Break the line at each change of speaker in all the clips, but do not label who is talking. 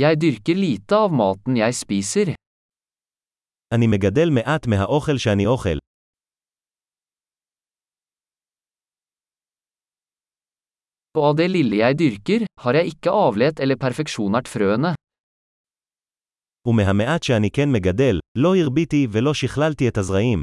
Jeg dyrker lite av maten jeg spiser.
אני מגדל מעט מהאוכל שאני אוכל.
Og av det lille jeg dyrker, har jeg ikke avlet eller perfeksjonert frøene.
ומהמעט שאני כן מגדל, לא הרביתי ולא שכללתי את הזרעים.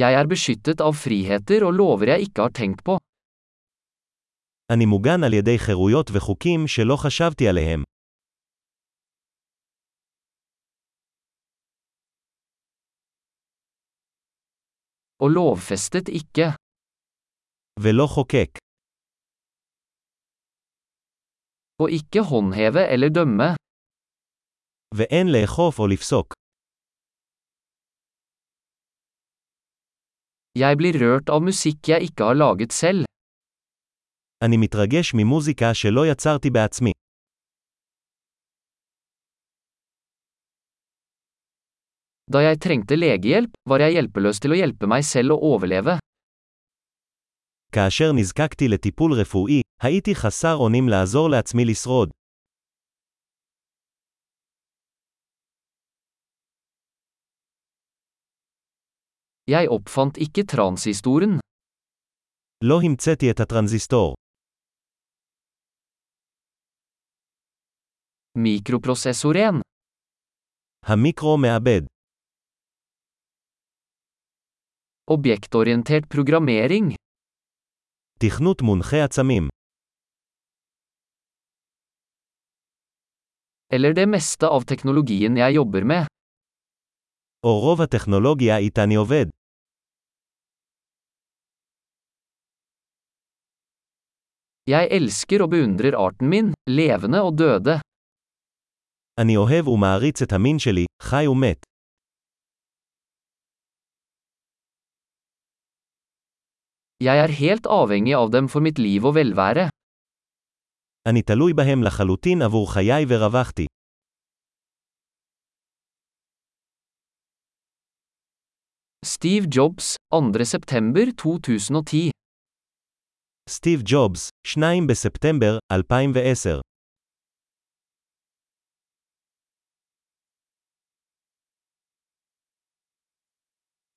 Jeg er beskyttet av friheter og lover jeg ikke har tenkt på.
אני מוגן על ידי חירויות וחוקים שלא חשבתי עליהם.
Og lovfestet ikke.
ולא חוקק.
Og ikke håndheve eller dømme.
ואין לאכוף או לפסוק.
Jeg blir rørt av musikk jeg ikke har laget selv.
אני מתרגש ממוזיקה שלא יצרתי בעצמי.
Da jeg trengte legehjelp, var jeg hjelpeløs til å hjelpe meg selv å overleve.
כאשר נזקקתי לטיפול רפואי, הייתי חסר אונים לעזור לעצמי לשרוד.
Jeg oppfant ikke transhistoren.
לא המצאתי את הטרנזיסטור.
Mikroprosessoren.
המיקרו מעבד.
Objektorientert programmering.
תכנות מונחי עצמים.
Eller det meste av teknologien jeg jobber med.
או רוב הטכנולוגיה איתה אני עובד.
Jeg elsker og beundrer arten min, levende og døde.
אני אוהב ומעריץ את המין שלי, חי ומת.
Jeg er helt avhengig av dem for mitt liv og velvære.
אני תלוי בהם לחלוטין עבור חיי ורווחתי.
Steve Jobs, 2. september 2010.
סטיב ג'ובס, 2 בספטמבר 2010